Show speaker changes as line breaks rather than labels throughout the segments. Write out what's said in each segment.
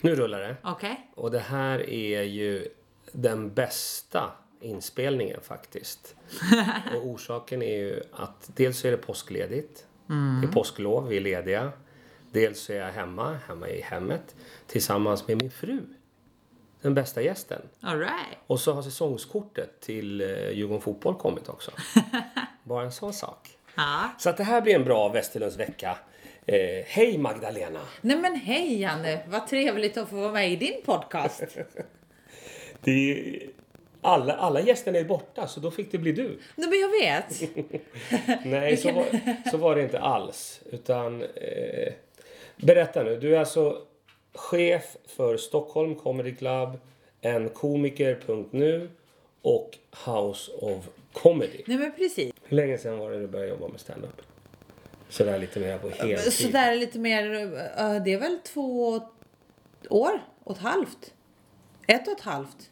Nu rullar det.
Okej.
Och det här är ju den bästa inspelningen faktiskt. Och orsaken är ju att dels så är det påskledigt. Det är påsklov, vi är lediga. Dels så är jag hemma, hemma i hemmet, tillsammans med min fru. Den bästa gästen.
All right.
Och så har säsongskortet till eh, Djurgården Fotboll kommit också. Bara en sån sak.
Ja.
Så att det här blir en bra Västerlunds vecka. Eh, hej Magdalena!
Nej men hej Janne, vad trevligt att få vara med i din podcast.
Det är... alla, alla gästerna är borta, så då fick det bli du.
Nej men jag vet.
Nej, så var, så var det inte alls. Utan, eh, berätta nu. Du är alltså chef för Stockholm Comedy Club, en komiker.nu och House of Comedy.
Nej men precis.
Hur länge sedan var det du började jobba med stand-up? Sådär lite mer på heltid.
Så där är lite mer, eh, det är väl två år och ett halvt. Ett och ett halvt.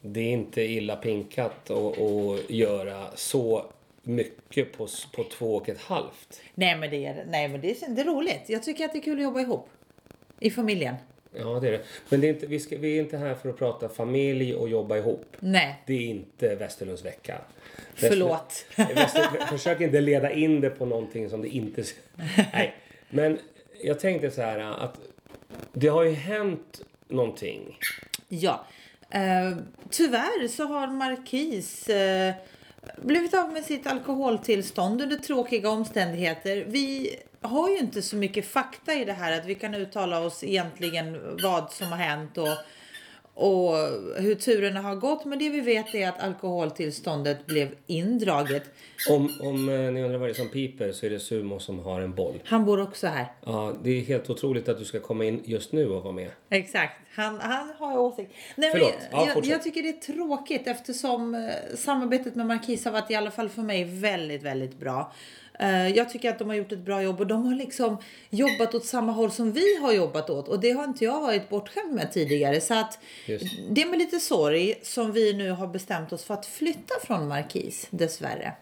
Det är inte illa pinkat att, att göra så mycket på, s- på två och ett halvt.
Nej men, det är, nej men det är, det är roligt. Jag tycker att det är kul att jobba ihop. I familjen.
Ja, det är det. Men det är inte, vi, ska, vi är inte här för att prata familj och jobba ihop.
Nej,
Det är inte Västerlunds vecka.
förlåt.
Väster- Väster- Försök inte leda in det på någonting som det inte... Nej. Men jag tänkte så här att det har ju hänt någonting.
Ja. Eh, tyvärr så har Marquis eh, blivit av med sitt alkoholtillstånd under tråkiga omständigheter. Vi har ju inte så mycket fakta i det här att vi kan uttala oss egentligen vad som har hänt och, och hur turerna har gått. Men det vi vet är att alkoholtillståndet blev indraget.
Om, om eh, ni undrar vad det är som piper så är det Sumo som har en boll.
Han bor också här.
Ja, det är helt otroligt att du ska komma in just nu och vara med.
Exakt, han, han har åsikt. Nej, men
Förlåt. Ja,
jag,
fortsätt.
jag tycker det är tråkigt eftersom eh, samarbetet med Marquis har varit i alla fall för mig väldigt, väldigt bra. Eh, jag tycker att de har gjort ett bra jobb och de har liksom jobbat åt samma håll som vi har jobbat åt och det har inte jag varit bortskämd med tidigare. Så att
Just.
det är med lite sorg som vi nu har bestämt oss för att flytta från Marquis, dessvärre.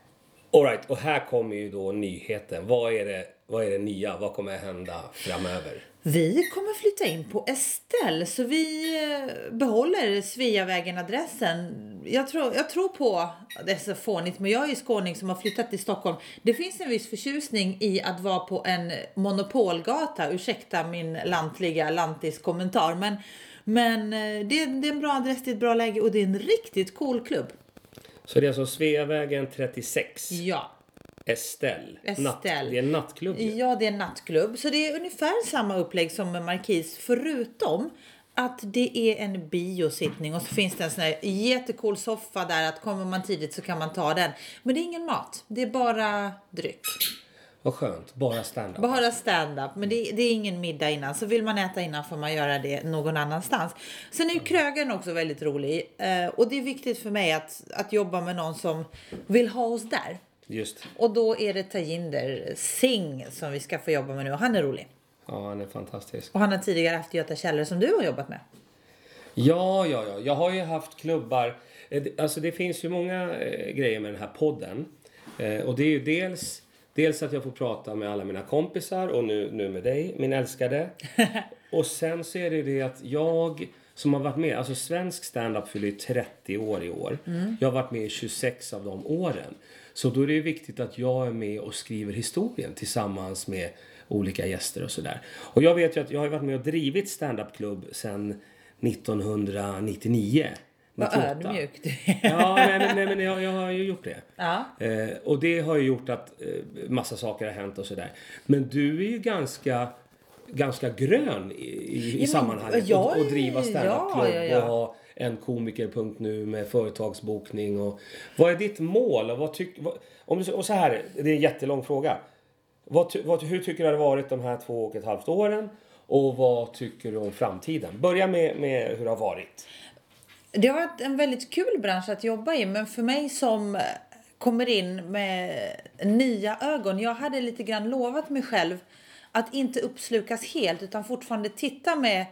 Alright, och här kommer ju då nyheten. Vad är det, vad är det nya? Vad kommer att hända framöver?
Vi kommer flytta in på Estelle så vi eh, behåller Sveavägen-adressen. Jag tror, jag tror på, det är så fånigt, men jag är ju skåning som har flyttat till Stockholm. Det finns en viss förtjusning i att vara på en monopolgata. Ursäkta min lantliga lantis-kommentar, men, men eh, det, det är en bra adress, det är ett bra läge och det är en riktigt cool klubb.
Så det är alltså Sveavägen 36.
Ja.
Estelle.
Estelle.
Natt, det är en nattklubb ju.
Ja, det är en nattklubb. Så det är ungefär samma upplägg som med Markis förutom att det är en biosittning och så finns det en sån här jättecool soffa där att kommer man tidigt så kan man ta den. Men det är ingen mat, det är bara dryck.
Vad skönt. Bara stand-up.
Bara stand-up, men det, det är ingen middag innan. Så vill man äta innan får man göra det någon annanstans. Sen är ju krögaren också väldigt rolig eh, och det är viktigt för mig att, att jobba med någon som vill ha oss där.
Just.
Och då är det Tajinder Singh som vi ska få jobba med nu och han är rolig.
Ja, han är fantastisk.
Och han har tidigare haft Göta källor som du har jobbat med.
Ja, ja, ja. Jag har ju haft klubbar. Eh, det- Alltså det finns ju många eh, grejer med den här podden. Eh, och det är ju dels, dels att jag får prata med alla mina kompisar och nu, nu med dig, min älskade. och sen så är det ju det att jag som har varit med, alltså svensk standup fyller ju 30 år i år. Jag har varit med i 26 av de åren. Så då är det ju viktigt att jag är med och skriver historien tillsammans med olika gäster och sådär. Och jag vet ju att jag har ju varit med och drivit standupklubb sedan 1999.
Vad
98.
ödmjukt.
Ja, nej, men- nej, men jag, jag har ju gjort det.
Ja.
Eh, och det har ju gjort att eh, massa saker har hänt och sådär. Men du är ju ganska, ganska grön i, i, i sammanhanget.
jag
och, och
är-
driva standupklubb
ja, ja, ja.
och ha en komiker.nu med företagsbokning. Och, vad är ditt mål? Och, vad tyck, vad, om du, och så här, det är en jättelång fråga. Vad, ty- vad, hur tycker du det har varit de här två och ett halvt åren? Och vad tycker du om framtiden? Börja med, med hur det har varit.
Det har varit en väldigt kul bransch att jobba i men för mig som eh, kommer in med nya ögon. Jag hade lite grann lovat mig själv att inte uppslukas helt utan fortfarande titta med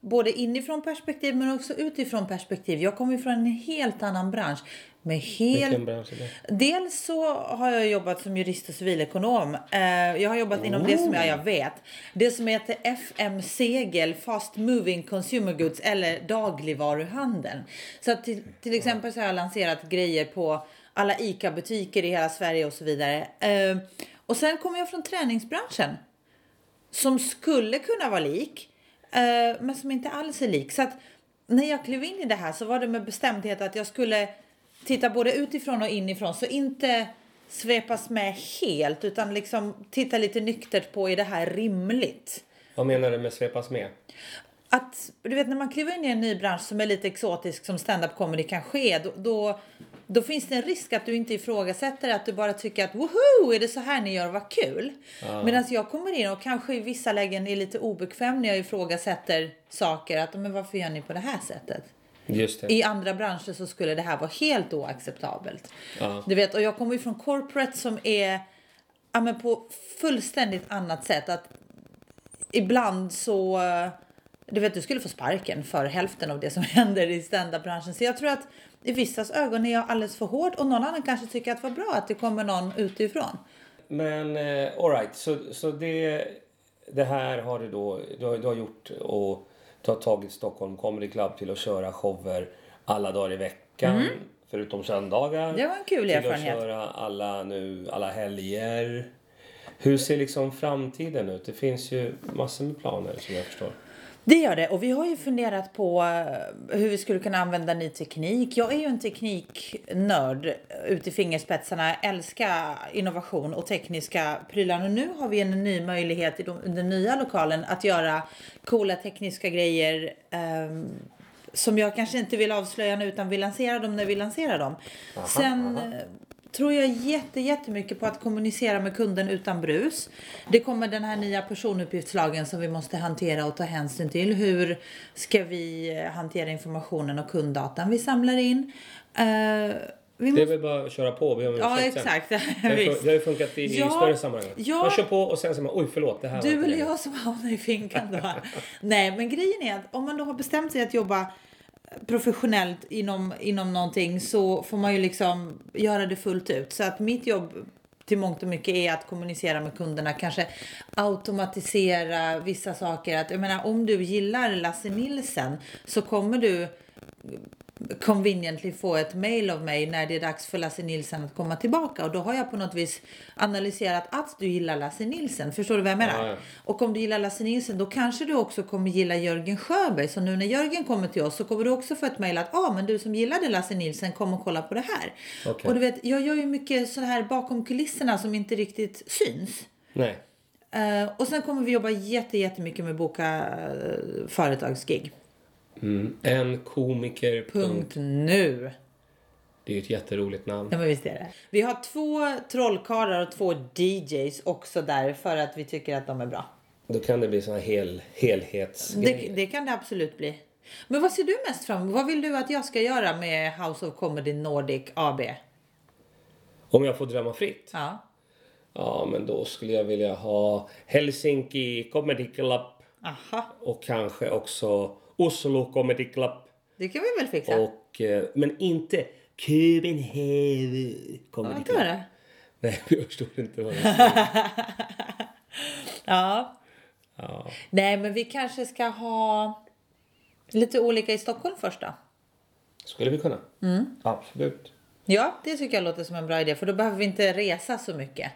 både inifrån perspektiv men också utifrån perspektiv. Jag kommer ju från en helt annan bransch. Med helt
Vilken bransch är det?
Dels så har jag jobbat som jurist och civilekonom. Eh, Jag har jobbat inom det som jag, jag vet. Det som heter FM Segel, Fast Moving Consumer Goods eller dagligvaruhandeln. Så att till, till exempel så har jag lanserat grejer på alla ICA-butiker i hela Sverige och så vidare. Eh, Och sen kommer jag från träningsbranschen som skulle kunna vara lik, eh, men som inte alls är lik. Så att när jag klev in i det här så var det med bestämdhet att jag skulle titta både utifrån och inifrån. Så inte svepas med helt, utan liksom titta lite nyktert på är det här rimligt?
Vad menar du med svepas med?
Att, du vet när man kliver in i en ny bransch som är lite exotisk som stand-up comedy kanske är, då, då, då finns det en risk att du inte ifrågasätter att du bara tycker att woho, är det så här ni gör, vad kul. Medan jag kommer in och kanske i vissa lägen är lite obekväm när jag ifrågasätter saker, att men varför gör ni på det här sättet?
Just det.
I andra branscher så skulle det här vara helt oacceptabelt.
Ja.
Du vet, och jag kommer ju från corporate som är ja, men på fullständigt annat sätt. Att ibland så... eh, Du vet, du skulle få sparken för hälften av det som händer i standardbranschen. Så jag tror att i vissas ögon är jag alldeles för hård och någon annan kanske tycker att det var bra att det kommer någon utifrån.
Men eh, alright, så, så det, det här har du då du har, du har gjort och du har tagit Stockholm Comedy Club till att köra shower alla dagar i veckan. Förutom söndagar.
Mhm. Det var en kul
till
erfarenhet.
att köra alla, nu, alla helger. Hur ser liksom framtiden ut? Det finns ju massor med planer som jag förstår.
Det gör det. Och vi har ju funderat på eh, hur vi skulle kunna använda ny teknik. Jag är ju en tekniknörd eh, ut i fingerspetsarna. Jag älskar innovation och tekniska prylar. Och nu har vi en ny möjlighet i de- den nya lokalen att göra coola tekniska grejer ehm, som jag kanske inte vill avslöja nu utan vill lansera dem när vi lanserar dem. Sen eh, tror jag jätte, jättemycket på att kommunicera med kunden utan brus. Det kommer den här nya personuppgiftslagen som vi måste hantera och ta hänsyn till. Hur ska vi eh, hantera informationen och kunddatan vi samlar in? Eh,
Det
vi måste...
är väl bara att köra på. Vi har
Ja, exakt.
Det har, ju fun-
Visst.
det har ju funkat i,
Ja,
i större sammanhang.
ja.
Man kör på och sen säger man oj förlåt det här var
Du
inte
eller
meningen."
jag som hamnar i finkan då. Nej, men grejen är att om man då har bestämt sig att jobba professionellt inom, inom någonting så får man ju liksom göra det fullt ut. Så att mitt jobb till mångt och mycket är att kommunicera med kunderna, kanske automatisera vissa saker. Att, jag menar, om du gillar Lasse Nilsen så kommer du conveniently få ett mail av mig när det är dags för Lasse Nilsen att komma tillbaka. Och då har jag på något vis analyserat att du gillar Lasse Nilsen. Förstår du vad jag menar?
Ja, ja.
Och om du gillar Lasse Nilsen då kanske du också kommer gilla Jörgen Sjöberg. Så nu när Jörgen kommer till oss så kommer du också få ett mail att ah, men du som gillade Lasse Nilsen kom och kolla på det här.
Okej.
Och du vet, jag gör ju mycket så här bakom kulisserna som inte riktigt syns.
Nej.
Eh, och sen kommer vi jobba jätte, jättemycket med boka eh, företagsgig.
Mm. En komiker. Punkt.
Punkt nu.
Det är ju ett jätteroligt namn.
Ja, men visst är det. Vi har två trollkarlar och två DJs också där för att vi tycker att de är bra.
Då kan det bli såna hel, helhetsgrejer.
Det, det kan det absolut bli. Men vad ser du mest fram emot? Vad vill du att jag ska göra med House of Comedy Nordic AB?
Om jag får drömma fritt?
Ja.
Ja, men då skulle jag vilja ha Helsinki Comedy Club
Aha,
och kanske också Oslo Comedy Club.
det kan vi väl fixa?
Och, eh, men inte Copenhagen Comedy
Vad
Club.
tror du?
Nej, jag förstod inte vad det
Ja.
ja.
Nej, men vi kanske ska ha lite olika i Stockholm först då.
Skulle vi kunna? Absolut.
Ja, det tycker jag låter som en bra idé för då behöver vi inte resa så mycket.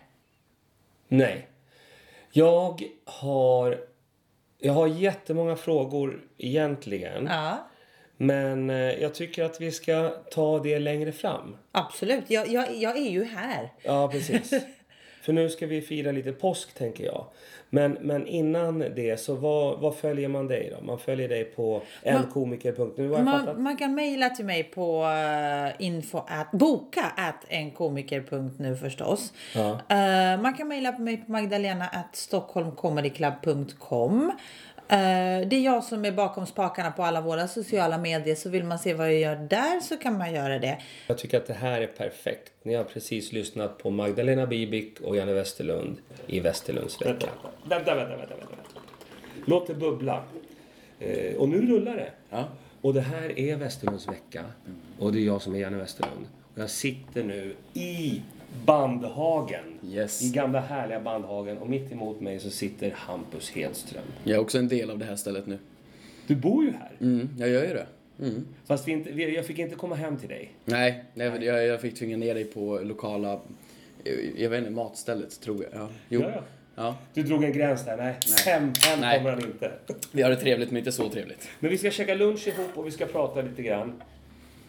Nej. Jag har... Jag har jättemånga frågor egentligen.
Ja.
Men eh, jag tycker att vi ska ta det längre fram.
Absolut, jag, jag, jag är ju här.
Ja, precis. För nu ska vi fira lite påsk, tänker jag. Men, men innan det, så vad, vad följer man dig då? Man följer dig på enkomiker.nu, har jag fattat.
Man, man kan mejla till mig på eh, info at, boka at enkomiker.nu förstås.
Ja.
Eh, man kan mejla på mig på magdalena at stockholmcomedyclub.com. Eh, det är jag som är bakom spakarna på alla våra sociala medier så vill man se vad jag gör där så kan man göra det.
Jag tycker att det här är perfekt. Ni har precis lyssnat på Magdalena Bibic och Janne Westerlund i Västerlundsveckan. Vänta, vänta, vänta, vänta. Låt det bubbla. Eh, och nu rullar det.
Ja. Mm.
Och det här är Westerlunds vecka. Och det är jag som är Janne Westerlund. Och jag sitter nu i Bandhagen.
Yes.
I gamla härliga Bandhagen. Och mitt emot mig så sitter Hampus Hedström.
Jag är också en del av det här stället nu.
Du bor ju här.
Mm, jag gör ju det. Mm.
Fast vi inte, vi, jag fick inte komma hem till dig.
Nej, nej, men Jag, jag fick tvinga ner dig på lokala, eh, jag vet inte, matstället tror jag. Ja. Jo.
Ja, ja.
Ja.
Du drog en gräns där. Nej, hem, hem
Nej.
kommer han inte.
Vi har det trevligt men inte så trevligt.
Men vi ska käka lunch ihop och vi ska prata lite grann.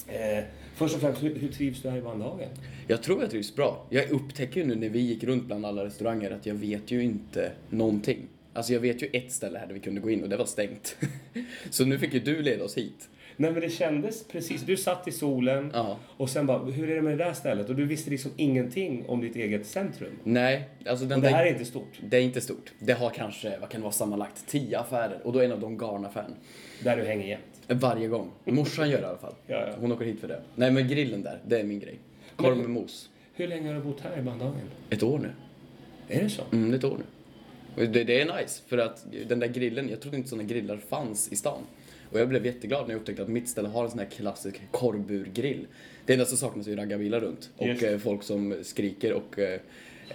Eh, först och främst, hur, hur trivs du här i Bandhagen?
Jag tror jag trivs bra. Jag upptäcker ju nu när vi gick runt bland alla restauranger att jag vet ju inte någonting. Alltså jag vet ju ett ställe här där vi kunde gå in och det var stängt. så nu fick ju du leda oss hit.
Nej men det kändes precis, du satt i solen
Ja.
och sen bara, hur är det med det där stället? Och du visste liksom ingenting om ditt eget centrum.
Nej, alltså den
Och det
där...
här är inte stort,
Det är inte stort. Det har kanske, vad kan det vara, sammanlagt tio affärer och då är en av dem garnaffären.
där du hänger jämt.
Varje gång. Morsan gör det i alla fall.
Ja, ja.
Hon åker hit för det. Nej men grillen där, det är min grej. Korv med mos.
Hur länge har du bott här i Bandhagen?
Ett år nu.
Är det så?
Mm, ett år nu. Och det, det är nice, för att den där grillen, jag trodde inte sådana grillar fanns i stan. Och jag blev jätteglad när jag upptäckte att mitt ställe har en sån här klassisk korvburgrill. Det enda som saknas är ju raggarbilar runt och
Just.
eh, folk som skriker och eh,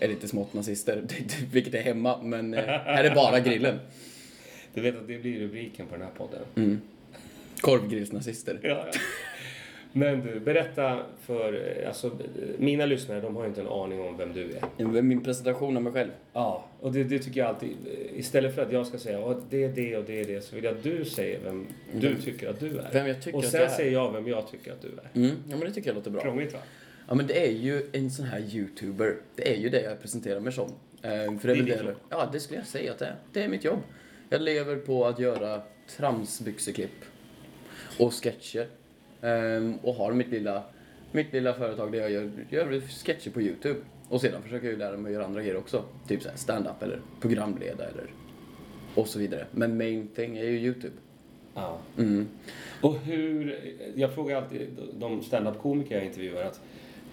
är lite smått nazister, vilket är hemma, men eh, här är bara grillen.
Du vet att det blir rubriken på den här podden.
Korvgrillsnazister.
Ja, ja. Men du, berätta för, eh, alltså eh, mina lyssnare, de har ju inte en aning om vem du är.
Min presentation av mig själv.
Ja, och det, det tycker jag alltid. Istället för att jag ska säga att det är det och det är det så vill jag att du säger vem du tycker att du är.
Vem jag tycker
och
att
sen
jag är.
säger jag vem jag tycker att du är.
Mm. Ja men det tycker jag låter bra.
Krångligt va?
Ja men det är ju en sån här youtuber. Det är ju det jag presenterar mig som. Ehm, För
Det är
det är
ditt
väl
jobb.
det. Ja det skulle jag säga att det är. Det är mitt jobb. Jag lever på att göra tramsbyxeklipp. Och sketcher. Ehm, Och har mitt lilla, mitt lilla företag där jag gör, gör sketcher på youtube. Och sedan försöker jag ju lära mig att göra andra grejer också. Typ såhär stand-up eller programleda eller och så vidare. Men main thing är ju youtube. Mm.
Ja. Och hur, jag frågar alltid de standup-komiker jag intervjuar att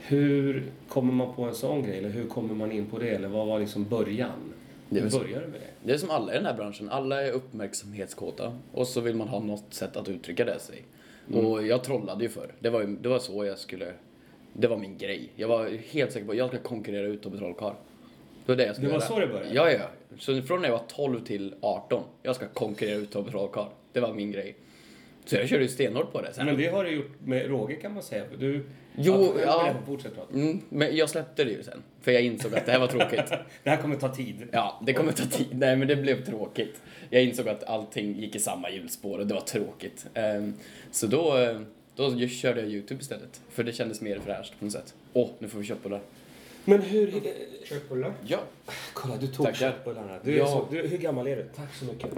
hur kommer man på en sån grej eller hur kommer man in på det eller vad var liksom början?
Det är
Hur
väl så-
började du med det?
Det är som alla i den här branschen, alla är uppmärksamhetskåta och så vill man ha något sätt att uttrycka det sig.
Mm.
Och jag trollade ju förr. Det var, ju- det var så jag skulle, det var min grej. Jag var helt säker på att jag ska konkurrera ut Tobbe Trollkarl. Det var det jag skulle
Det var
göra.
så det började?
Ja, ja. Så från när jag var 12 till 18, jag ska konkurrera ut Tobbe Trollkarl. Det var min grej. Så jag körde ju stenhårt på det sen.
Men det har du gjort med råge kan man säga. Du,
Jo,
men
ja.
berätta, Fortsätt prata.
Mm, men jag släppte det ju sen, för jag insåg att det här var tråkigt.
Det här kommer ta tid.
Ja, det kommer ta tid. Nej, men det blev tråkigt. Jag insåg att allting gick i samma hjulspår och det var tråkigt. Ehm, Så då, eh, då ju- körde jag YouTube istället, för det kändes mer fräscht på något sätt. Åh, nu får vi köttbullar.
Men hur...
Köttbullar.
Ja.
Kolla, du tog
Tackar.
köttbullarna. Du är
Ja.
så, du, hur gammal är du? Tack så mycket.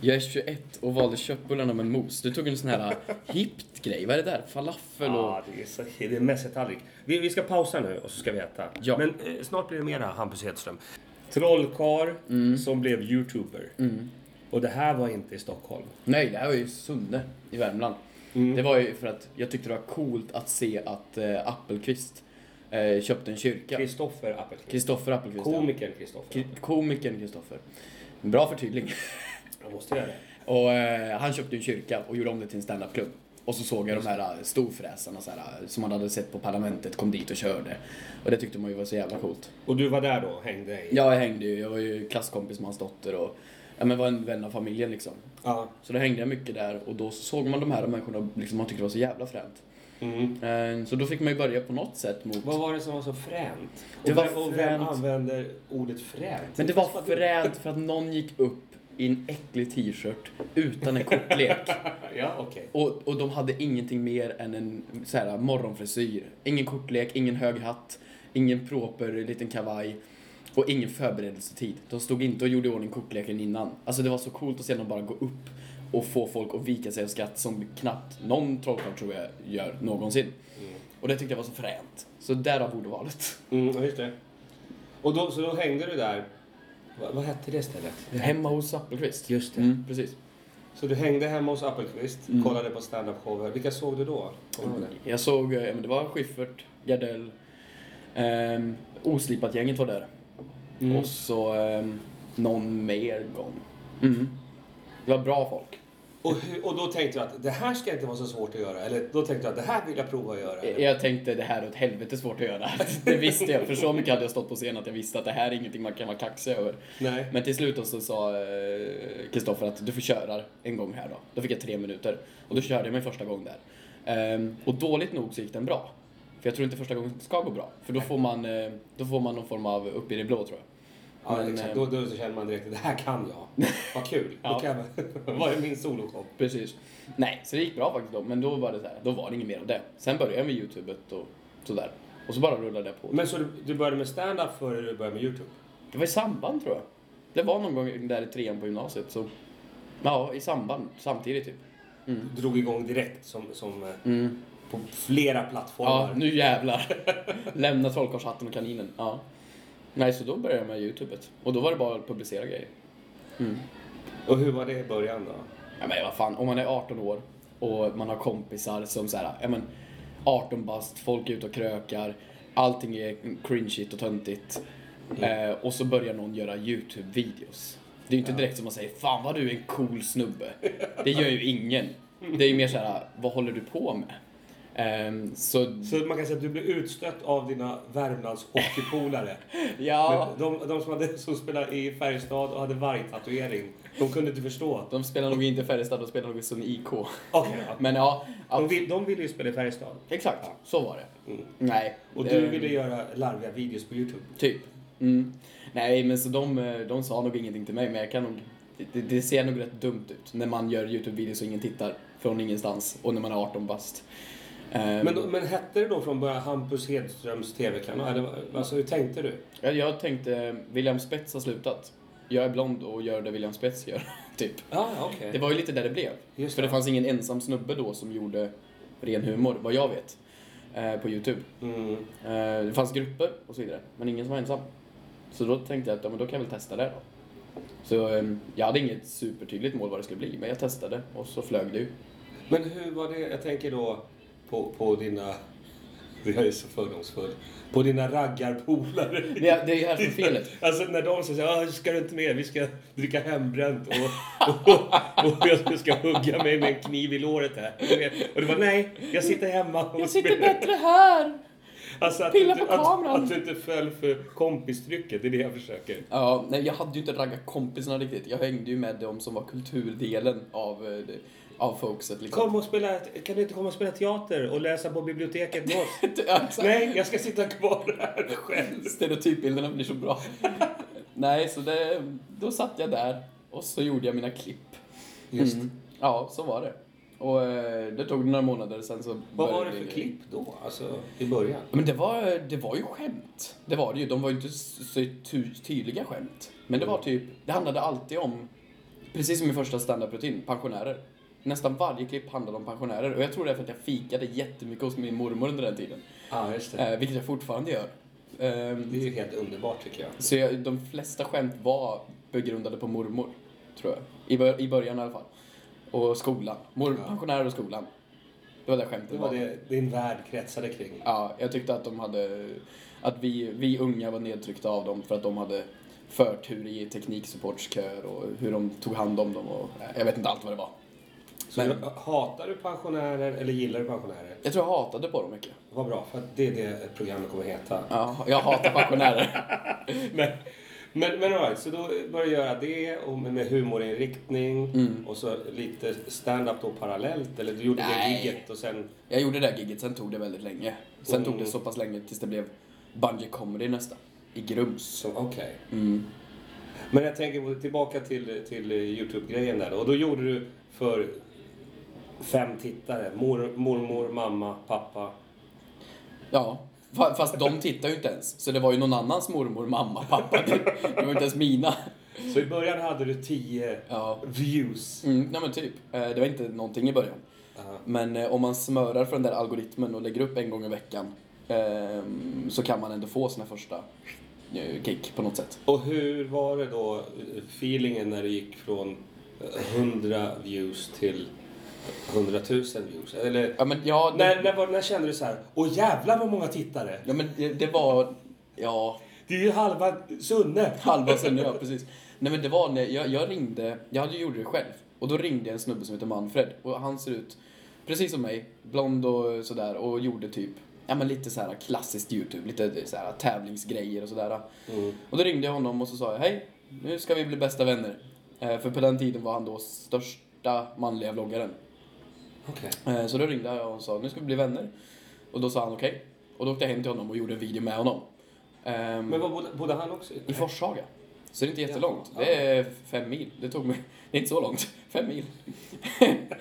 Jag är 21 och valde köttbullarna med mos. Du tog en sån här hippt grej. Vad är det där? Falafel och...
Ja, Ah, det är, så, det är mässetallrik. Vi, vi ska pausa nu och så ska vi äta.
Ja.
Men eh, snart blir det mera Hampus Hedström. Mm. Trollkar som blev youtuber. Och det här var inte i Stockholm.
Nej, det här var ju Sunne i Värmland. Det var ju för att jag tyckte det var coolt att se att eh, Appelqvist eh, köpte en kyrka.
Kristoffer Appelqvist.
Kristoffer Appelqvist, ja.
Komikern Kristoffer.
Ki- Komikern Kristoffer. Bra förtydling.
Jag måste göra det.
Och eh, han köpte en kyrka och gjorde om det till en standupklubb. Och så såg jag de här eh, storfräsarna så här, eh, som man hade sett på Parlamentet kom dit och körde. Och det tyckte man ju var så jävla coolt.
Och du var där då? Hängde i?
Jag hängde ju, jag var ju klasskompis med hans dotter och ja, men var en vän av familjen liksom.
Ja.
Så då hängde jag mycket där och då såg man de här människorna liksom, man tyckte det var så jävla fränt.
Mm.
Eh, så då fick man ju börja på något sätt mot...
Vad var det som var så fränt?
Det
och,
var
vem- och vem
fränt.
använder ordet fränt?
Men det var fränt för att någon gick upp i en äcklig t-shirt utan en kortlek.
Ja, okej.
Och, och de hade ingenting mer än en så här, morgonfrisyr. Ingen kortlek, ingen hög hatt, ingen proper liten kavaj och ingen förberedelsetid. De stod inte och gjorde i ordning kortleken innan. Alltså det var så coolt att se dem bara gå upp och få folk att vika sig av skratt som knappt någon trollkarl tror jag gör någonsin. Och det tyckte jag var så fränt. Så därav ordvalet.
Mm, just det. Och då, så då hängde du där. Va, vad hette det stället?
Hemma hos Appelqvist.
Just det.
Mm, precis.
Så du hängde hemma hos Appelqvist, kollade på standup-shower. Vilka såg du då? Mm. Kommer du ihåg det?
Jag såg, eh, ja, men det var Schyffert, Gardell, ehm, Oslipat-gänget var där. Och så ehm, någon mer gång. Mm. Det var bra folk.
Och, hur- och då tänkte jag att det här ska inte vara så svårt att göra. Eller då tänkte jag att det här vill jag prova att göra.
Eh, Jag tänkte det här är åt helvete svårt att göra. Det visste jag, för så mycket hade jag stått på scen att jag visste att det här är ingenting man kan vara kaxig över.
Nej.
Men till slut då så sa eh, Kristoffer att du får köra en gång här då. Då fick jag tre minuter. Och då körde jag min första gång där. Ehm, och dåligt nog så gick den bra. För jag tror inte första gången ska gå bra. För då får man, eh, då får man någon form av upp i det blå tror jag.
ja,
men,
exakt.
eh,
Då, då så känner man direkt att det här kan jag. Vad kul.
Ja.
Då kan jag, vad är min solokomp?
Precis. Nej, så det gick bra faktiskt då. Men då var det så här, då var det inget mer av det. Sen började jag med Youtube och sådär. Och så bara rullade jag på.
Men så du, du började med stand-up före du började med YouTube?
Det var i samband tror jag. Det var någon gång där i trean på gymnasiet. Så, ja, i samband. Samtidigt typ.
Du drog igång direkt som, som eh,
Mm.
på flera
Ja,
plattformar.
nu jävlar. Lämna trollkarlshatten och kaninen. Ja. Nej, så då började jag med Youtube. Och då var det bara att publicera grejer.
Och hur var det i början då?
Ja, men vad fan, om man är 18 år och man har kompisar som så här, ja men 18 bast, folk är ute och krökar, allting är cringeigt och töntigt. Eh, och så börjar någon göra YouTube-videos. Det är ju inte direkt som man säger “Fan vad du är en cool snubbe”. Det gör ju ingen. Det är ju mer så här, vad håller du på med? Ehm, så,
Så man kan säga att du blev utstött av dina Värmlandshockeypolare.
ja.
Men De, de som, hade, som spelade i Färjestad och hade vargtatuering, de kunde inte förstå.
De spelar nog inte Färjestad, de spelar nog som IK.
Okej, ja.
Men ja,
de,
ja
vill, de ville ju spela i Färjestad.
exakt. Så var det.
Mm.
Nej.
Och du
eh,
ville göra larviga videos på Youtube.
Typ. Mm. Nej, men så de, eh, de sa nog ingenting till mig, men jag kan nog... det- Det, det ser nog rätt dumt ut när man gör YouTube-videos och ingen tittar från ingenstans och när man är 18 bast. Ehm,
Men, men hette det då från början Hampus Hedströms TV-kanal? Eller, Alltså, hur tänkte du?
jag, jag tänkte, William Spets har slutat. Jag är blond och gör det William Spets gör, typ.
Ja, okej.
Det var ju lite där det blev.
Just
för det
det.
fanns ingen ensam snubbe då som gjorde ren humor, vad jag vet, eh, på YouTube.
Mm.
Eh, Det fanns grupper och så vidare, men ingen som var ensam. Så då tänkte jag att ja, men då kan jag väl testa det då. Så eh, jag hade inget supertydligt mål vad det skulle bli, men jag testade och så flög det ju.
Men hur var det, jag tänker då på, på dina... Jag är så fördomsfull. På dina raggarpolare.
Det är det är ju här som är felet.
Alltså när de säger ah, ska du inte med? Vi ska dricka hembränt och, och, och jag ska hugga mig med en kniv i låret här. Du vet. Och du bara nej, jag sitter hemma och spelar."
här!
Alltså att,
Pilla
du-
på
att,
kameran.
att du inte föll för kompistrycket, det är det jag försöker.
Ja, nej, jag hade ju inte raggat kompisarna riktigt. Jag hängde ju med dem som var kulturdelen av, eh, det- av folkset. Liksom.
Kom och spela, kan du inte komma och spela teater och läsa på biblioteket med oss?
Ja, exakt.
Nej, jag ska sitta kvar här själv.
Stereotypbilderna blir så bra. Nej, så det, då satt jag där och så gjorde jag mina klipp.
Just.
Mm. Ja, så var det. Och eh, det tog några månader sen så
Vad var
började
det för
grejer.
klipp då? Alltså i början?
Men det var, det var ju skämt. Det var det ju. De var ju inte så så ty- tydliga skämt. Men det var typ, det handlade alltid om, precis som i första standup-rutin, pensionärer. Nästan varje klipp handlade om pensionärer. Och jag tror det är för att jag fikade jättemycket hos min mormor under den tiden.
Ja, just det.
Eh, vilket jag fortfarande gör. Ehm,
Det är ju helt underbart tycker jag.
Så jag, de flesta skämt var begrundade på mormor, tror jag. I, bör, i början i alla fall. Och skolan. Mor,
Ja.
Pensionärer och skolan. Det var det skämtet
Det var det din värld kretsade kring.
Ja, jag tyckte att de hade... Att vi, vi unga var nedtryckta av dem för att de hade förtur i tekniksupportskör och hur de tog hand om dem och... eh, Jag vet inte allt vad det var.
Så
Men-
du- hatar du pensionärer eller gillar du pensionärer?
Jag tror jag hatade på dem mycket.
Vad bra, för att det är det programmet kommer heta.
Ja, jag hatar pensionärer.
Men, men, men all right, så då började jag göra det och med, med humorinriktning
Mm.
och så lite stand-up då parallellt. Eller du gjorde
Nej.
det gigget och sen...
Jag gjorde det där giget, sen tog det väldigt länge. Sen
Mm.
tog det så pass länge tills det blev Bungee Comedy nästan. I Grums.
så Okej.
Mm.
Men jag tänker på- tillbaka till, till Youtube-grejen där då. Och då gjorde du för fem tittare. Mor, mormor, mamma, pappa.
Ja, fa- fast de tittar ju inte ens. Så det var ju någon annans mormor, mamma, pappa. Det det var inte ens mina.
Så i början hade du tio
Ja.
views.
Mm, nej men typ. Eh, Det var inte någonting i början.
Ja.
Men eh, om man smörar för den där algoritmen och lägger upp en gång i veckan ehm, så kan man ändå få sina första eh, kick på något sätt.
Och hur var det då, eh, feelingen när det gick från eh, 100 views till 100 000 views? Eller,
Ja men, ja, det,
när, när, var, när kände du så här, åh jävlar vad många tittare!
ja, men det, det var... Ja,
Det är ju halva Sunne!
halva sen ja, precis. Nej men det var när jag, jag ringde, jag hade ju gjort det själv. Och då ringde en snubbe som heter Manfred och han ser ut precis som mig, blond och sådär och gjorde typ Ja men lite såhär klassiskt YouTube, lite såhär tävlingsgrejer och sådär.
Mm,
Och då ringde jag honom och så sa jag hej, nu ska vi bli bästa vänner. Eh, för på den tiden var han då största manliga vloggaren.
Okej.
Eh, Så då ringde jag och sa nu ska vi bli vänner. Och då sa han okej. Och då åkte jag hem till honom och gjorde en video med honom. Ehm,
Men var bodde, bodde han också
I Forshaga. Så det är inte jättelångt.
Ja.
Det är fem mil. Det tog mig... Det är inte så långt. Fem mil.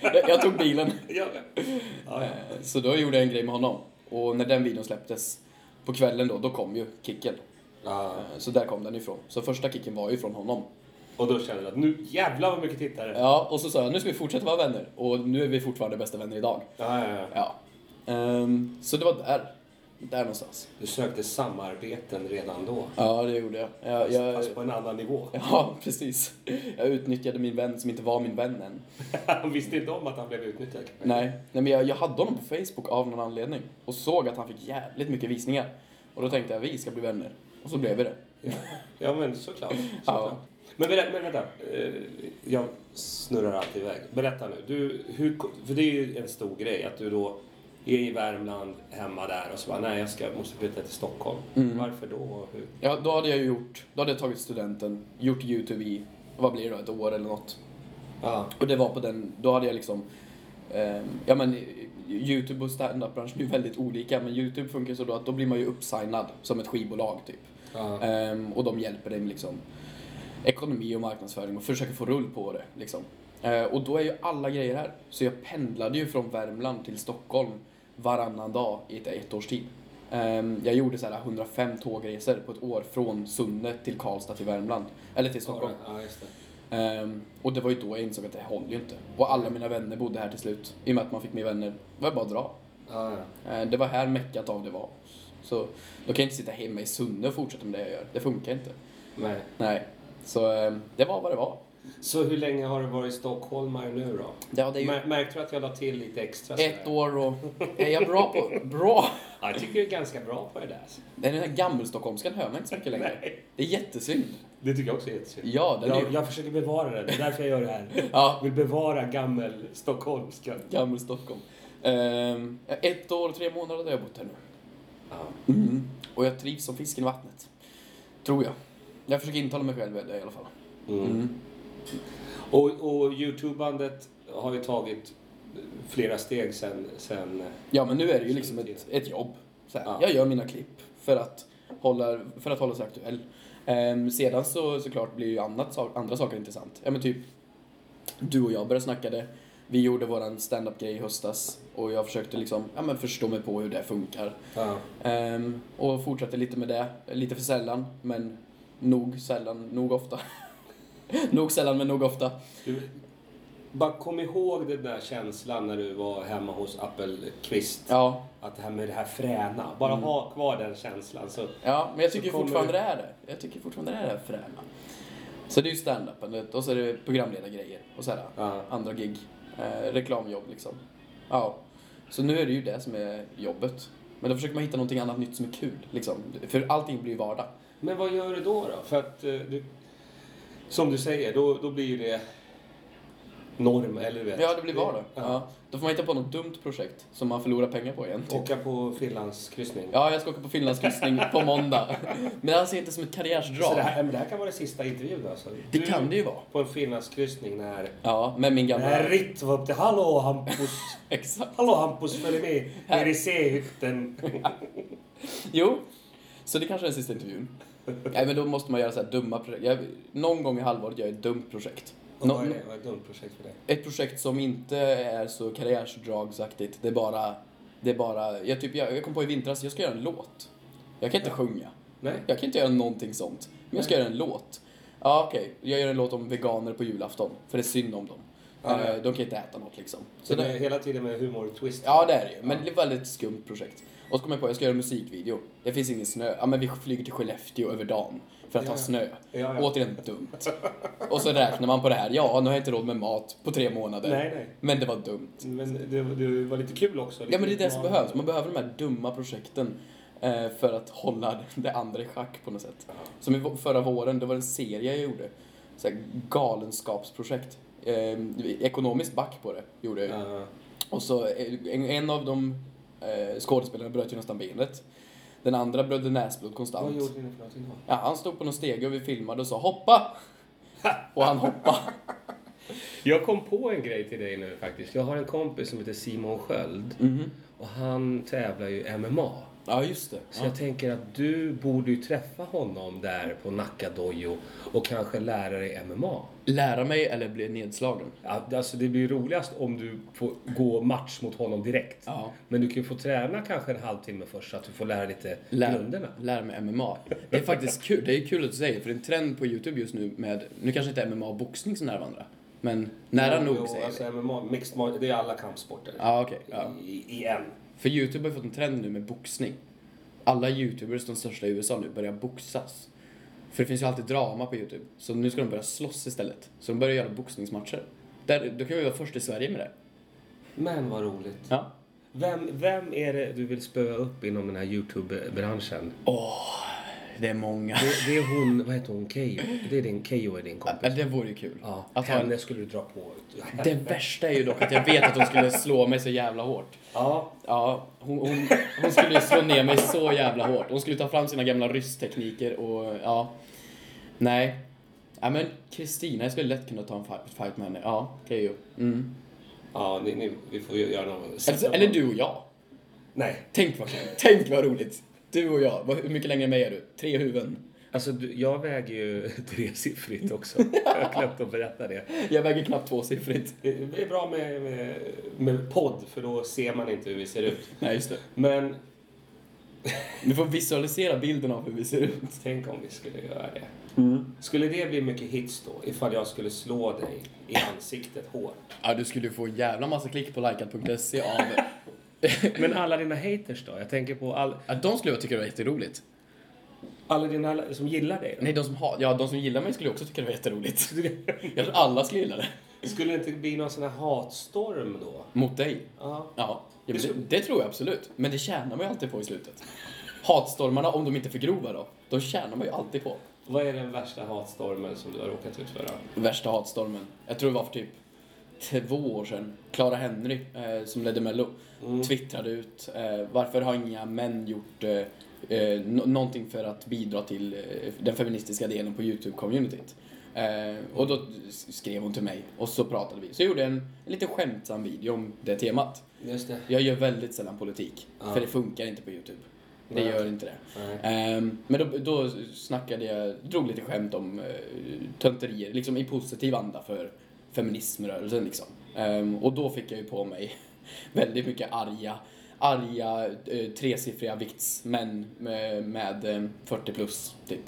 jag, jag tog bilen.
Ja, ja. Ja, ja.
Eh, Så då gjorde jag en grej med honom. Och när den videon släpptes på kvällen då, då kom ju kicken.
Ah.
Eh, Så där kom den ifrån. Så första kicken var ju från honom.
Och då kände du att nu jävlar vad mycket tittare.
Ja, och så sa jag nu ska vi fortsätta vara vänner. Och nu är vi fortfarande bästa vänner idag.
Ja, ja, ja.
Ja. Ehm, så det var där. Där någonstans.
Du sökte samarbeten redan då.
Ja, det gjorde jag. jag, jag
Fast på en annan nivå.
ja, precis. Jag utnyttjade min vän som inte var min vän än.
Han visste inte om att han blev utnyttjad.
Nej, nej men jag, jag hade honom på Facebook av någon anledning och såg att han fick jävligt mycket visningar. Och då tänkte jag, vi ska bli vänner. Och så blev vi det.
Ja, men såklart. såklart.
Ja.
Men, berätta, men vänta, Eh, jag snurrar alltid iväg. Berätta nu, du, hur, ko- för det är ju en stor grej att du då är i Värmland, hemma där och så bara, nej jag ska, måste flytta till Stockholm. Varför då och hur?
Ja, då hade jag ju gjort, då hade jag tagit studenten, gjort YouTube i, vad blir det då, ett år eller något.
Ja.
Och det var på den, då hade jag liksom, ehm, ja men YouTube och standup-branschen är ju väldigt olika, men YouTube funkar så då att då blir man ju uppsignad som ett skivbolag typ.
Ja.
Ehm, och de hjälper dig med liksom, ekonomi och marknadsföring och försöker få rull på det. Liksom. Eh, och då är ju alla grejer här. Så jag pendlade ju från Värmland till Stockholm varannan dag i ett, ett års tid. Ehm, jag gjorde så här 105 tågresor på ett år från Sunne till Karlstad till Värmland. Eller till Stockholm.
Ja, just det.
Ehm, och det var ju då jag insåg att det håller ju inte. Och alla mina vänner bodde här till slut. I och med att man fick mer vänner var det bara att dra.
Ja, ja.
Eh, Det var här meckat av det var. Så då kan jag inte sitta hemma i Sunne och fortsätta med det jag gör. Det funkar inte.
Nej.
Nej. Så eh, det var vad det var.
Så hur länge har du varit stockholmare nu då?
Det hade ju
Mär, märkte du att jag la till lite extra?
ett
sådär?
år och... Är jag bra på... Bra!
Ja, jag tycker du är ganska bra på det där. alltså.
Den här gammelstockholmskan hör man inte så mycket längre. Det är jättesynd.
Det tycker jag också är jättesynd.
Ja, den är
Jag,
ju...
jag försöker bevara det. Det är därför jag gör det här. Jag
Ja,
vill bevara gammel stockholmska.
gammelstockholm. Ehm, Ett år och tre månader har jag bott här nu.
Ja.
Mm. Och jag trivs som fisken i vattnet. Tror jag. Jag försöker intala mig själv det i alla fall. Mm.
Och, och Youtube-bandet har ju tagit flera steg sen... sen eh,
Ja, men nu är det ju liksom ett, ett jobb. Så här,
Ja.
Jag gör mina klipp för att hålla, för att hålla sig aktuell. Ehm, sedan så såklart blir ju annat, sa- andra saker intressant. Ja, men typ, du och jag började snacka det. Vi gjorde våran stand-up-grej i höstas och jag försökte liksom, ja, men förstå mig på hur det funkar.
ja.
Ehm, och fortsatte lite med det, lite för sällan, men nog sällan, nog ofta. nog sällan, men nog ofta.
du, bara kom ihåg den där känslan när du var hemma hos Appelqvist.
Ja, Mm.
Att det här med det här fräna. Bara ha kvar den känslan. Så,
Ja, men jag
Så
tycker
kommer-
fortfarande det är det. Jag tycker fortfarande det är det fräna. Så det är ju standupandet och så är det programledargrejer och sådär.
ja.
Andra gig. Eh, reklamjobb liksom. Ja. Så nu är det ju det som är jobbet. Men då försöker man hitta någonting annat nytt som är kul. Liksom. För allting blir ju vardag.
Men vad gör du då? då? För att, eh, du, som du säger, då, då blir ju det norm, eller du vet.
Ja, det blir vardag.
Ja.
Ja. Då får man hitta på något dumt projekt som man förlorar pengar på igen. Typ.
Åka på Finlandskryssning.
Ja, jag ska åka på finlandskryssning på måndag. Men jag ser inte som ett
Så det,
karriärsdrag.
här, men det här kan vara det sista intervjun alltså.
Det
Du
kan det ju vara.
På en finlandskryssning när...
Ja, med min gamla...
När Ritt var upp till Hallå Hampus!
Exakt.
Hallå Hampus, följ med ner i C-hytten!
Jo, så det kanske är den sista intervjun. Nej, men då måste man göra så här dumma projekt. Jag, någon gång i halvåret gör jag ett dumt projekt.
Och
Nå-
Vad är det? Vad är ett dumt projekt för dig?
ett projekt som inte är så karriärsdragsaktigt. Det är bara... Det är bara jag, typ, jag, jag kom på i vintras, jag ska göra en låt. Jag kan inte sjunga.
Nej?
Jag kan inte göra någonting sånt. Men jag ska göra en låt. Ja, okej. Jag gör en låt om veganer på julafton. För det är synd om dem.
Ja, ja.
Eh, De kan inte äta något liksom.
Så det
det-
är hela tiden med humor-twist?
Ja, det är det ju. Men det är ett väldigt skumt projekt. Och så kom jag på att jag ska göra en musikvideo. Det finns ingen snö. Ja, men vi flyger till Skellefteå över dagen för att
Ja,
ha
ja.
snö.
Ja, ja.
Återigen dumt. Och så räknar man på det här. Ja, nu har jag inte råd med mat på tre månader.
Nej, nej.
Men det var dumt.
Men det, det var lite kul också.
Ja, men det är det som
utmanande.
behövs. Man behöver de här dumma projekten eh, för att hålla det andra i schack på något sätt. Som i vå- förra våren, det var en serie jag gjorde. Så här galenskapsprojekt. eh, ekonomiskt back på det. Gjorde jag.
Ja.
Och så eh, en, en av de eh, skådespelarna bröt ju nästan benet. Den andra blödde näsblod
Vad
konstant.
gjorde ni för någonting då?
Ja, han stod på någon stege och vi filmade och sa hoppa! Och han hoppade.
Jag kom på en grej till dig nu faktiskt. Jag har en kompis som heter Simon Sköld.
Mhm.
Och han tävlar ju MMA.
Ja, just det.
Så jag tänker att du borde ju träffa honom där på Nacka Dojo och kanske lära dig MMA.
Lära mig eller bli nedslagen.
Ja, Alltså det blir ju roligast om du får gå match mot honom direkt.
Ja.
Men du kan ju få träna kanske en halvtimme först så att du får lära lite grunderna.
Lär, lär mig MMA. Det är faktiskt kul. Det är kul att du säger, för det är en trend på YouTube just nu med, nu kanske inte MMA och boxning så nära varandra, men nära nog säger vi.
MMA, mixed det är alla kampsporter.
Ja, okej. ja.
I, en.
För YouTube har fått en trend nu med boxning. Alla YouTubers, de största i USA nu, börjar boxas. För det finns ju alltid drama på YouTube. Så nu ska de börja slåss istället. Så de börjar göra boxningsmatcher. Där, då kan vi vara först i Sverige med det.
Men vad roligt.
Ja.
Vem, vem är det du vill spöa upp inom den här Youtube-branschen?
Det är många.
Det, det är hon, vad heter hon, Keyyo? Det är din, Keyyo är din kompis.
Ja, det vore ju kul.
Ja,
Att ha en...
henne skulle du dra på.
Det värsta är ju dock att jag vet att hon skulle slå mig så jävla hårt.
Ja,
Ja, hon, hon, hon skulle ju slå ner mig så jävla hårt. Hon skulle ta fram sina gamla rysstekniker och ja. Nej. Ja men Kristina, jag skulle lätt kunna ta en fi- fight med henne. Ja, det är ju. Mm.
ja ni, ni, vi får ju göra något.
Eller, eller du och jag.
Nej.
Tänk vad kul. Tänk vad roligt. Du och jag. Vad- Hur mycket längre än mig är du? Tre huvuden.
Alltså, du, jag väger ju tresiffrigt också. Jag har glömt att berätta det.
Jag väger knappt tvåsiffrigt.
Det är bra med, med, med podd, för då ser man inte hur vi ser ut.
Nej, just det.
Men
Du får visualisera bilden av hur vi ser ut.
tänk om vi skulle göra det. Skulle det bli mycket hits då, ifall jag skulle slå dig i ansiktet hårt?
Ja, du skulle ju få en jävla massa klick på likead.se av...
Men alla dina haters då? Jag tänker på all,
Ja, de skulle jag tycka det var jätteroligt.
alla dina som gillar dig. Då.
Nej, de som, har, ja, de som gillar mig skulle också tycka det var jätteroligt. Jag tror alla skulle gilla det.
Skulle det inte bli någon sån här hatstorm då?
Mot dig?
Ja.
Ja, ja men det, det tror jag absolut. Men det tjänar man ju alltid på i slutet. Hatstormarna, om de inte är för grova då, de tjänar man ju alltid på.
Vad är den värsta hatstormen som du har råkat ut för? då?
Värsta hatstormen, jag tror det var för typ två år sedan. Clara Henry, eh, som ledde Mello,
Mm.
twittrade ut eh, varför har inga män gjort eh, eh, nå- någonting för att bidra till eh, den feministiska delen på YouTube-communityt. Eh, och då s- skrev hon till mig och så pratade vi. Så jag gjorde en, en lite skämtsam video om det temat.
Just det.
Jag gör väldigt sällan politik,
Ja.
för det funkar inte på Youtube. Det
Nej.
gör inte det.
Nej.
Ehm, men då, då snackade jag, drog lite skämt om uh, tönterier, liksom i positiv anda för feminismrörelsen liksom. Ehm, och då fick jag ju på mig väldigt mycket arga, arga eh, tresiffriga viktsmän med, med eh, 40 plus typ.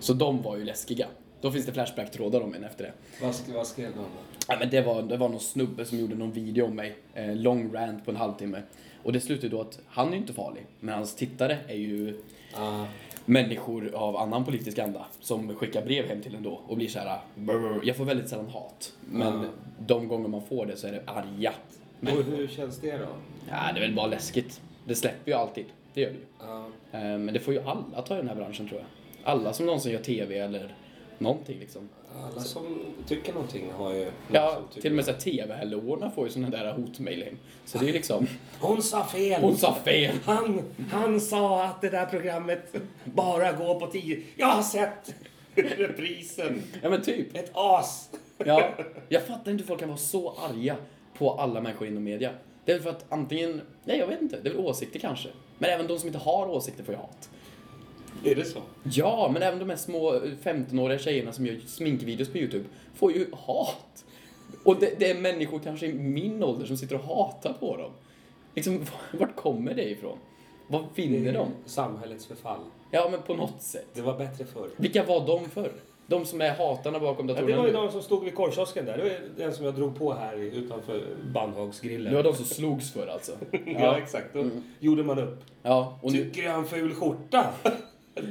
Så de var ju läskiga. Då finns det Flashback-trådar om en efter det.
Vad, sk- vad skrev de då?
Ja, men det, var, det var någon snubbe som gjorde någon video om mig, eh, lång rant på en halvtimme. Och det slutade då att han är ju inte farlig, men hans tittare är ju
Ah,
människor av annan politisk anda som skickar brev hem till en då och blir så här. "Brr." Jag får väldigt sällan hat, men
Ja.
de gånger man får det så är det arga. Men,
och hur känns det då?
ja, det är väl bara läskigt. Det släpper ju alltid, det gör det ju.
Ah,
Eh, Men det får ju alla ta i den här branschen tror jag. Alla som någonsin gör TV eller någonting liksom.
alla som tycker någonting har ju... någon
Ja,
som tycker-
till och med så här TV-hallåorna får ju sådana där hotmail hem. Så det är ju liksom,
Hon sa fel!
hon sa fel!
Han, han sa att det där programmet bara går på tio... Jag har sett reprisen!
Ja men typ.
Ett as!
Ja, jag fattar inte hur folk kan vara så arga på alla människor inom media. Det är väl för att antingen, nej jag vet inte, det är väl åsikter kanske. Men även de som inte har åsikter får ju hat.
Är det så?
Ja, men även de här små eh, 15-åriga tjejerna som gör sminkvideos på YouTube får ju hat. Och det, det är människor kanske i min ålder som sitter och hatar på dem. Liksom, vart kommer det ifrån? Vad
Mm.
vinner de?
Samhällets förfall.
Ja, men på något sätt.
Det var bättre förr.
Vilka var de förr? De som är hatarna bakom
Ja,
datorerna
det var ju
nu?
de som stod vid korvkiosken där. Det var ju den som jag drog på här utanför Bandhagsgrillen.
Det var de som slogs för alltså.
Ja,
Ja,
exakt. Då
Mm.
gjorde man upp.
ja och nu,
Tycker du han ful skjorta?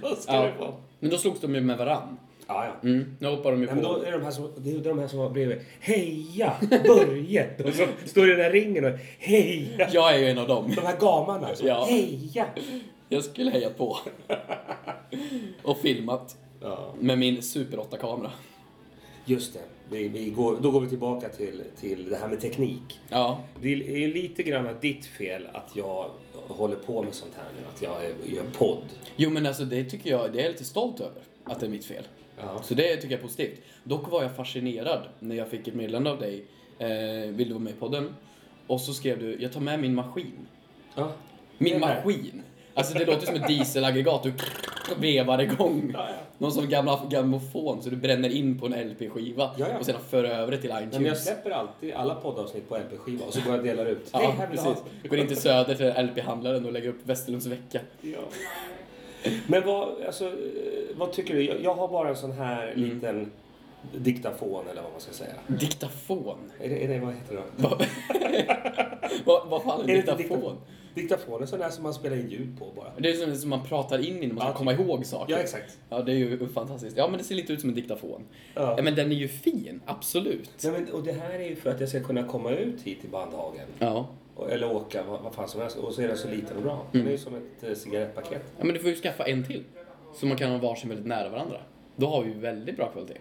då ska
Ja.
det vara.
men då slogs de ju med varann.
Ja, ja.
Mm. Nu hoppar de ju
Nej, men
på.
då är de här som, det är de här som var bredvid. Heja! Börje! De som står i den där ringen och heja!
Jag är ju en av dem.
De här gamarna. Som,
Ja.
Heja!
Jag skulle heja på. Och filmat
Ja.
med min Super 8-kamera.
Just det, vi, vi går, då går vi tillbaka till, till det här med teknik.
Ja.
Det är ju lite grann ditt fel att jag håller på med sånt här nu. Att jag är- gör podd.
Jo men alltså det tycker jag, det är jag lite stolt över. Att det är mitt fel.
Ja.
Så det tycker jag är positivt. Dock var jag fascinerad när jag fick ett meddelande av dig. Eh, vill du vara med i podden? Och så skrev du, jag tar med min maskin.
Ja.
Min
Det är det.
maskin. Alltså det låter som ett dieselaggregat. Du vevar igång. Någon som gamla grammofon så du bränner in på en LP-skiva
Ja, ja.
och sedan för över det till
Nej, men jag
iTunes.
släpper alltid alla poddavsnitt på LP-skiva och så går jag och delar ut.
Typ. Ja,
Hej, här vill du ha.
precis. Går in till Söder till LP-handlaren och lägger upp Västerlunds vecka.
Ja. Men vad, alltså, eh, vad tycker du? Jag, jag har bara en sån här liten diktafon eller vad man ska säga.
Diktafon.
Är det, är det vad heter det då?
Vad vad- vad fan är en
Är det inte
diktafon?
Diktafon är sån där som man spelar in ljud på bara.
Det är som- som man pratar in i när man ska
Ja, typ.
komma ihåg saker.
Ja, exakt.
Ja, det är ju fantastiskt. Ja, men det ser lite ut som en diktafon.
Ja.
Ja, men den är ju fin, absolut.
Nej, men, och det här är ju för att jag ska kunna komma ut hit till Bandhagen.
Ja.
Och- Eller åka vad, vad fan som helst. Och så är den så liten och bra. Den är ju som ett eh, cigarettpaket.
ja, men du får ju skaffa en till. Så man kan ha varsin väldigt nära varandra. Då har vi ju väldigt bra kvalitet.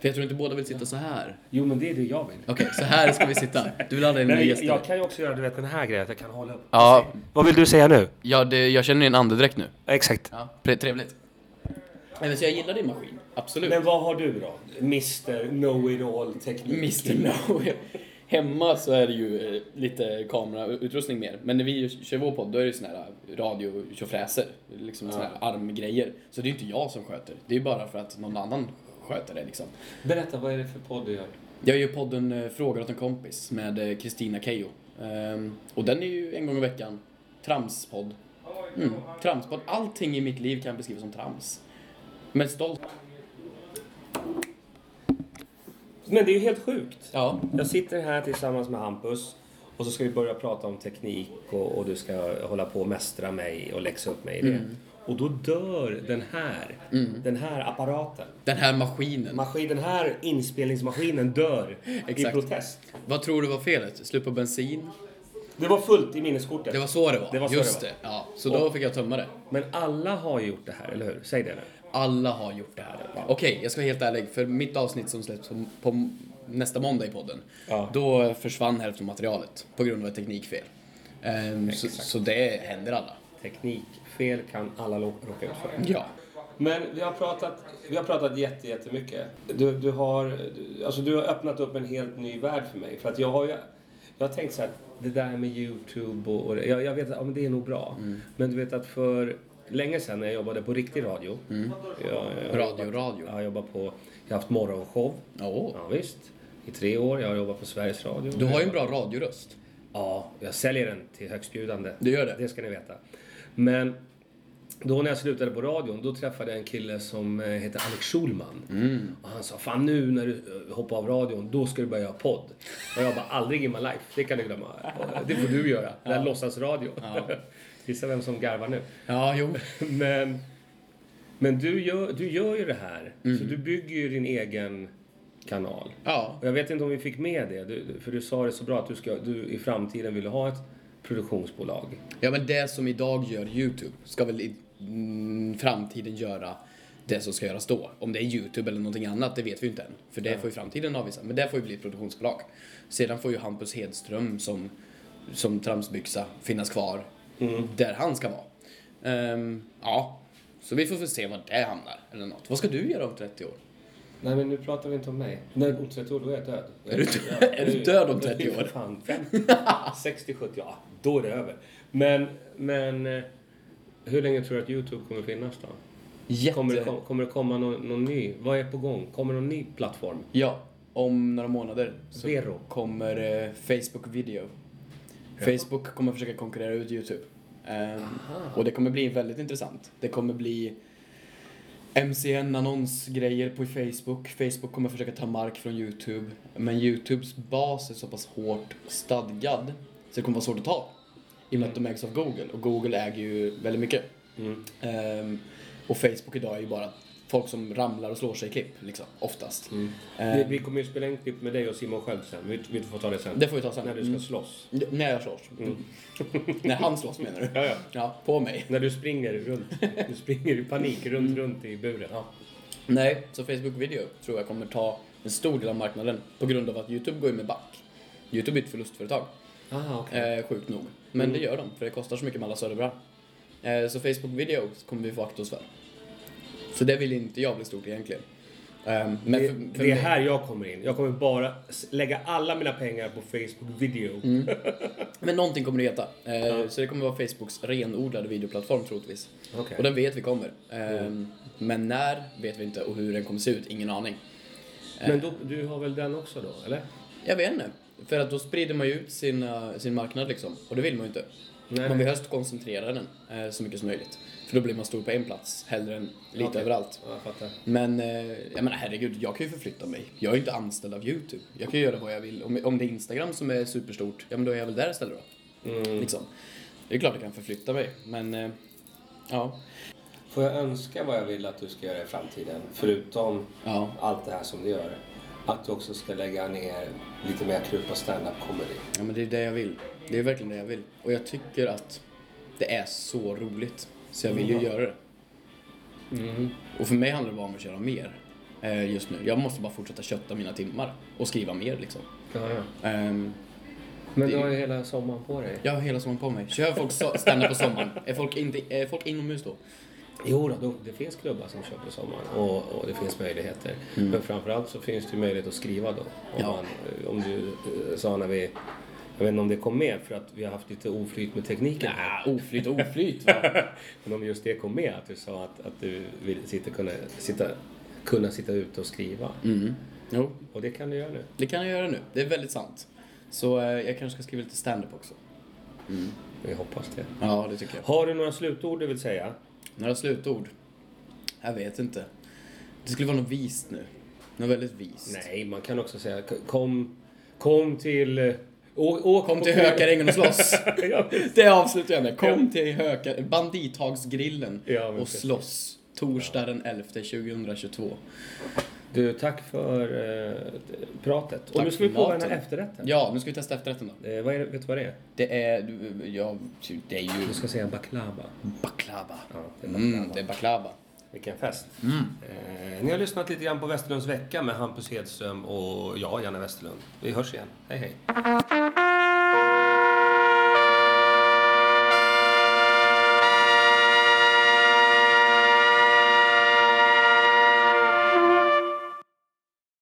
För jag tror inte båda vill sitta så här.
Jo, men det är det jag vill.
Okej, så här ska vi sitta. Du vill aldrig ha
Nej,
några
men jag,
gäster.
jag kan ju också göra du vet, den här grejen, att jag kan hålla upp.
Ja,
Vad vill du säga nu?
ja det, jag känner en andedräkt nu.
Exakt.
Ja, pre- trevligt. Nej, men så jag gillar din maskin. Absolut.
Men vad har du då? Mr Know-It-All teknik.
Mr. No. Hemma så är det ju eh, lite kamerautrustning mer. Men när vi ju kör vår podd då är det ju såna här radiotjofräser. Liksom såna här armgrejer. Så det är ju inte jag som sköter. Det är ju bara för att någon annan sköter det liksom.
Berätta, vad är det för podd du gör?
Jag gör podden eh, Frågar åt en kompis med eh, Kristina Kejo. Ehm, Och den är ju en gång i veckan. Tramspodd. Mm, tramspodd. Allting i mitt liv kan beskrivas som trams. Men stolt.
Men det är ju helt sjukt.
Ja.
Jag sitter här tillsammans med Hampus och så ska vi börja prata om teknik och, och du ska hålla på och mästra mig och läxa upp mig i det.
Mm.
Och då dör den här, den här apparaten.
Den här maskinen.
Maskin, den här inspelningsmaskinen dör i
Exakt.
protest.
Vad tror du var felet? Slut på bensin?
Det var fullt i minneskortet.
Det var så det var.
Det var så
Just
det
det. Ja, så då fick jag tömma det.
Men alla har ju gjort det här, eller hur? Säg det nu.
Alla har gjort det här. Okej, jag ska vara helt ärlig. För mitt avsnitt som släpps på, på nästa måndag i podden,
Ja.
då försvann hälften av materialet på grund av ett teknikfel. Ehm, så, så det händer alla.
Teknikfel kan alla lo- råka ut för.
Ja.
Men vi har pratat, vi har pratat jätte, jättemycket. Du, du, har, du- alltså du har öppnat upp en helt ny värld för mig. För att jag har ju, jag har tänkt så här, det där med Youtube och, och det, jag, jag vet att ja, men det är nog bra.
Mm.
Men du vet att för länge sedan när jag jobbade på riktig radio.
Mm.
Jag, jag,
Radio, radio.
jag har jobbat på, jag har haft morgonshow.
Åh,
Ja, visst. I tre år. Jag har jobbat på Sveriges Radio.
Du har ju en bra radioröst.
Ja, jag säljer den till högstbjudande.
Du gör det?
Det ska ni veta. Men då när jag slutade på radion, då träffade jag en kille som eh, heter Alex Schulman.
Mm.
Och han sa, fan nu när du eh, hoppar av radion, då ska du börja göra podd. Och jag bara, aldrig in my life, det kan du glömma. Det får du göra, det här låtsasradio. Gissa vem som garvar nu.
Ja, jo.
Men, men du, gör, du gör ju det här, så
Mm.
du bygger ju din egen kanal.
Ja.
Och jag vet inte om vi fick med det, du, du- för du sa det så bra att du, ska, du i framtiden vill ha ett produktionsbolag.
ja, men det som idag gör YouTube ska väl i mm, framtiden göra det som ska göras då. Om det är YouTube eller någonting annat, det vet vi ju inte än. För det får ju framtiden avvisa. Men det får ju bli ett produktionsbolag. Sedan får ju Hampus Hedström som, som tramsbyxa finnas kvar
Mm.
där han ska vara. Ehm, ja, så vi får väl se var det hamnar. Eller något. Vad ska du göra om 30 år?
Nej men nu pratar vi inte om mig. Nej, om 30 år då är jag död.
Är du död? Är du död om 30 år?
Fan, 50, 60, 70, ja då är det över. Men, men eh, hur länge tror du att Youtube kommer finnas då? Kommer det, kom- kommer det komma någon, någon ny? Vad är på gång? Kommer någon ny plattform?
Ja, om några månader så
Vero.
kommer eh, Facebook video. Facebook kommer försöka konkurrera ut YouTube. Ehm, och det kommer bli väldigt intressant. Det kommer bli MCN annonsgrejer på Facebook. Facebook kommer försöka ta mark från YouTube. Men YouTubes bas är så pass hårt stadgad så det kommer vara svårt att ta. I och med att de ägs av Google och Google äger ju väldigt mycket. Ehm, och Facebook idag är ju bara folk som ramlar och slår sig i klipp liksom, oftast.
Mm.
Ehm,
Vi, vi kommer ju spela en klipp med dig och Simon Sköld sen. Vi, vi får ta Eh. det sen.
det får vi ta sen.
När du ska
Mm.
slåss.
D- När jag slåss. När han slåss menar du?
Ja, ja.
på mig.
När du springer runt. Du
Mm.
springer i panik runt, runt i buren.
Nej, så Facebook video tror jag kommer ta en stor del av marknaden på grund av att Youtube går ju med back. Youtube är ett förlustföretag,
Ah, okej.
eh, sjukt nog. Men det gör de, för det kostar så mycket med alla servrar. Eh, så Facebook Video kommer vi få akta oss för. Så det vill inte jag bli stort egentligen. Eh, men
Det,
för, för
det är
mig-
här jag kommer in. Jag kommer bara s- lägga alla mina pengar på Facebook video.
Mm, Men någonting kommer det heta. Eh, Så det kommer vara Facebooks renodlade videoplattform troligtvis.
Okej.
Och den vet vi kommer. Eh, Men när vet vi inte och hur den kommer se ut, ingen aning.
Men då, du har väl den också då, eller?
Jag vet inte. För att då sprider man ju ut sin, eh, sin marknad liksom. Och det vill man ju inte.
Nej.
Man vill helst koncentrera den eh, så mycket som möjligt. För då blir man stor på en plats hellre än lite
Okej.
överallt.
Ja, jag fattar.
Men eh, jag menar herregud, jag kan ju förflytta mig. Jag är ju inte anställd av Youtube. Jag kan ju göra vad jag vill. Om, om det är Instagram som är superstort, ja men då är jag väl där istället då.
Mm.
Liksom. Det är klart jag kan förflytta mig, men eh, ja.
Får jag önska vad jag vill att du ska göra i framtiden? Förutom
Ja.
allt det här som du gör. Att du också ska lägga ner lite mer krut på stand-up comedy.
ja, men det är det jag vill. Det är verkligen det jag vill. Och jag tycker att det är så roligt. Så jag vill ju göra det. Och för mig handlar det bara om att köra mer eh, just nu. Jag måste bara fortsätta kötta mina timmar och skriva mer liksom.
Ja, ja.
Ehm,
Men
Det-
du har ju hela sommaren på dig.
Jag har hela sommaren på mig. Kör folk so- stand-up på sommaren? Är folk, inte, är folk inomhus då?
Jo, då, det finns klubbar som kör på sommaren och, och det finns möjligheter. Men framförallt så finns det ju möjlighet att skriva då. Om,
Mm. Ja.
man, om du eh, sa när vi... Jag vet inte om det kom med för att vi har haft lite oflyt med tekniken.
Ah, oflyt och oflyt. Va?
Men om just det kom med, att du sa att, att du vill sitta, kunna, sitta, kunna sitta ute och skriva.
Mm. Jo,
Och det kan du göra nu.
det kan jag göra nu. Det är väldigt sant. Så eh, jag kanske ska skriva lite stand-up också.
Vi hoppas det.
Ja, det tycker jag.
Har du några slutord du vill säga?
Några slutord? Jag vet inte. Det skulle vara något vist nu. Något väldigt vist.
Nej, man kan också säga k- kom, kom till... eh, Å, åk
Kom
på
till
klubb.
Hökarängen och slåss.
Ja,
Det avslutar jag med. Kom till Hökar... Bandithagsgrillen
Ja, men
och
precis.
slåss. Torsdag den 11 2022.
Du, tack för eh, pratet. och
Tack
nu ska vi
för
prova den
maten.
här efterrätten.
Ja, nu ska vi testa efterrätten då.
Eh, vad är, det- vet du vad det är?
Det är... Ja, det är ju...
Du ska säga baklava.
Baklava.
Ja, det är baklava.
Mm, det är baklava.
Vilken fest. Eh, ni har lyssnat lite grann på Westerlunds vecka med Hampus Hedström och jag, Janne Westerlund. Vi hörs igen. Hej, hej.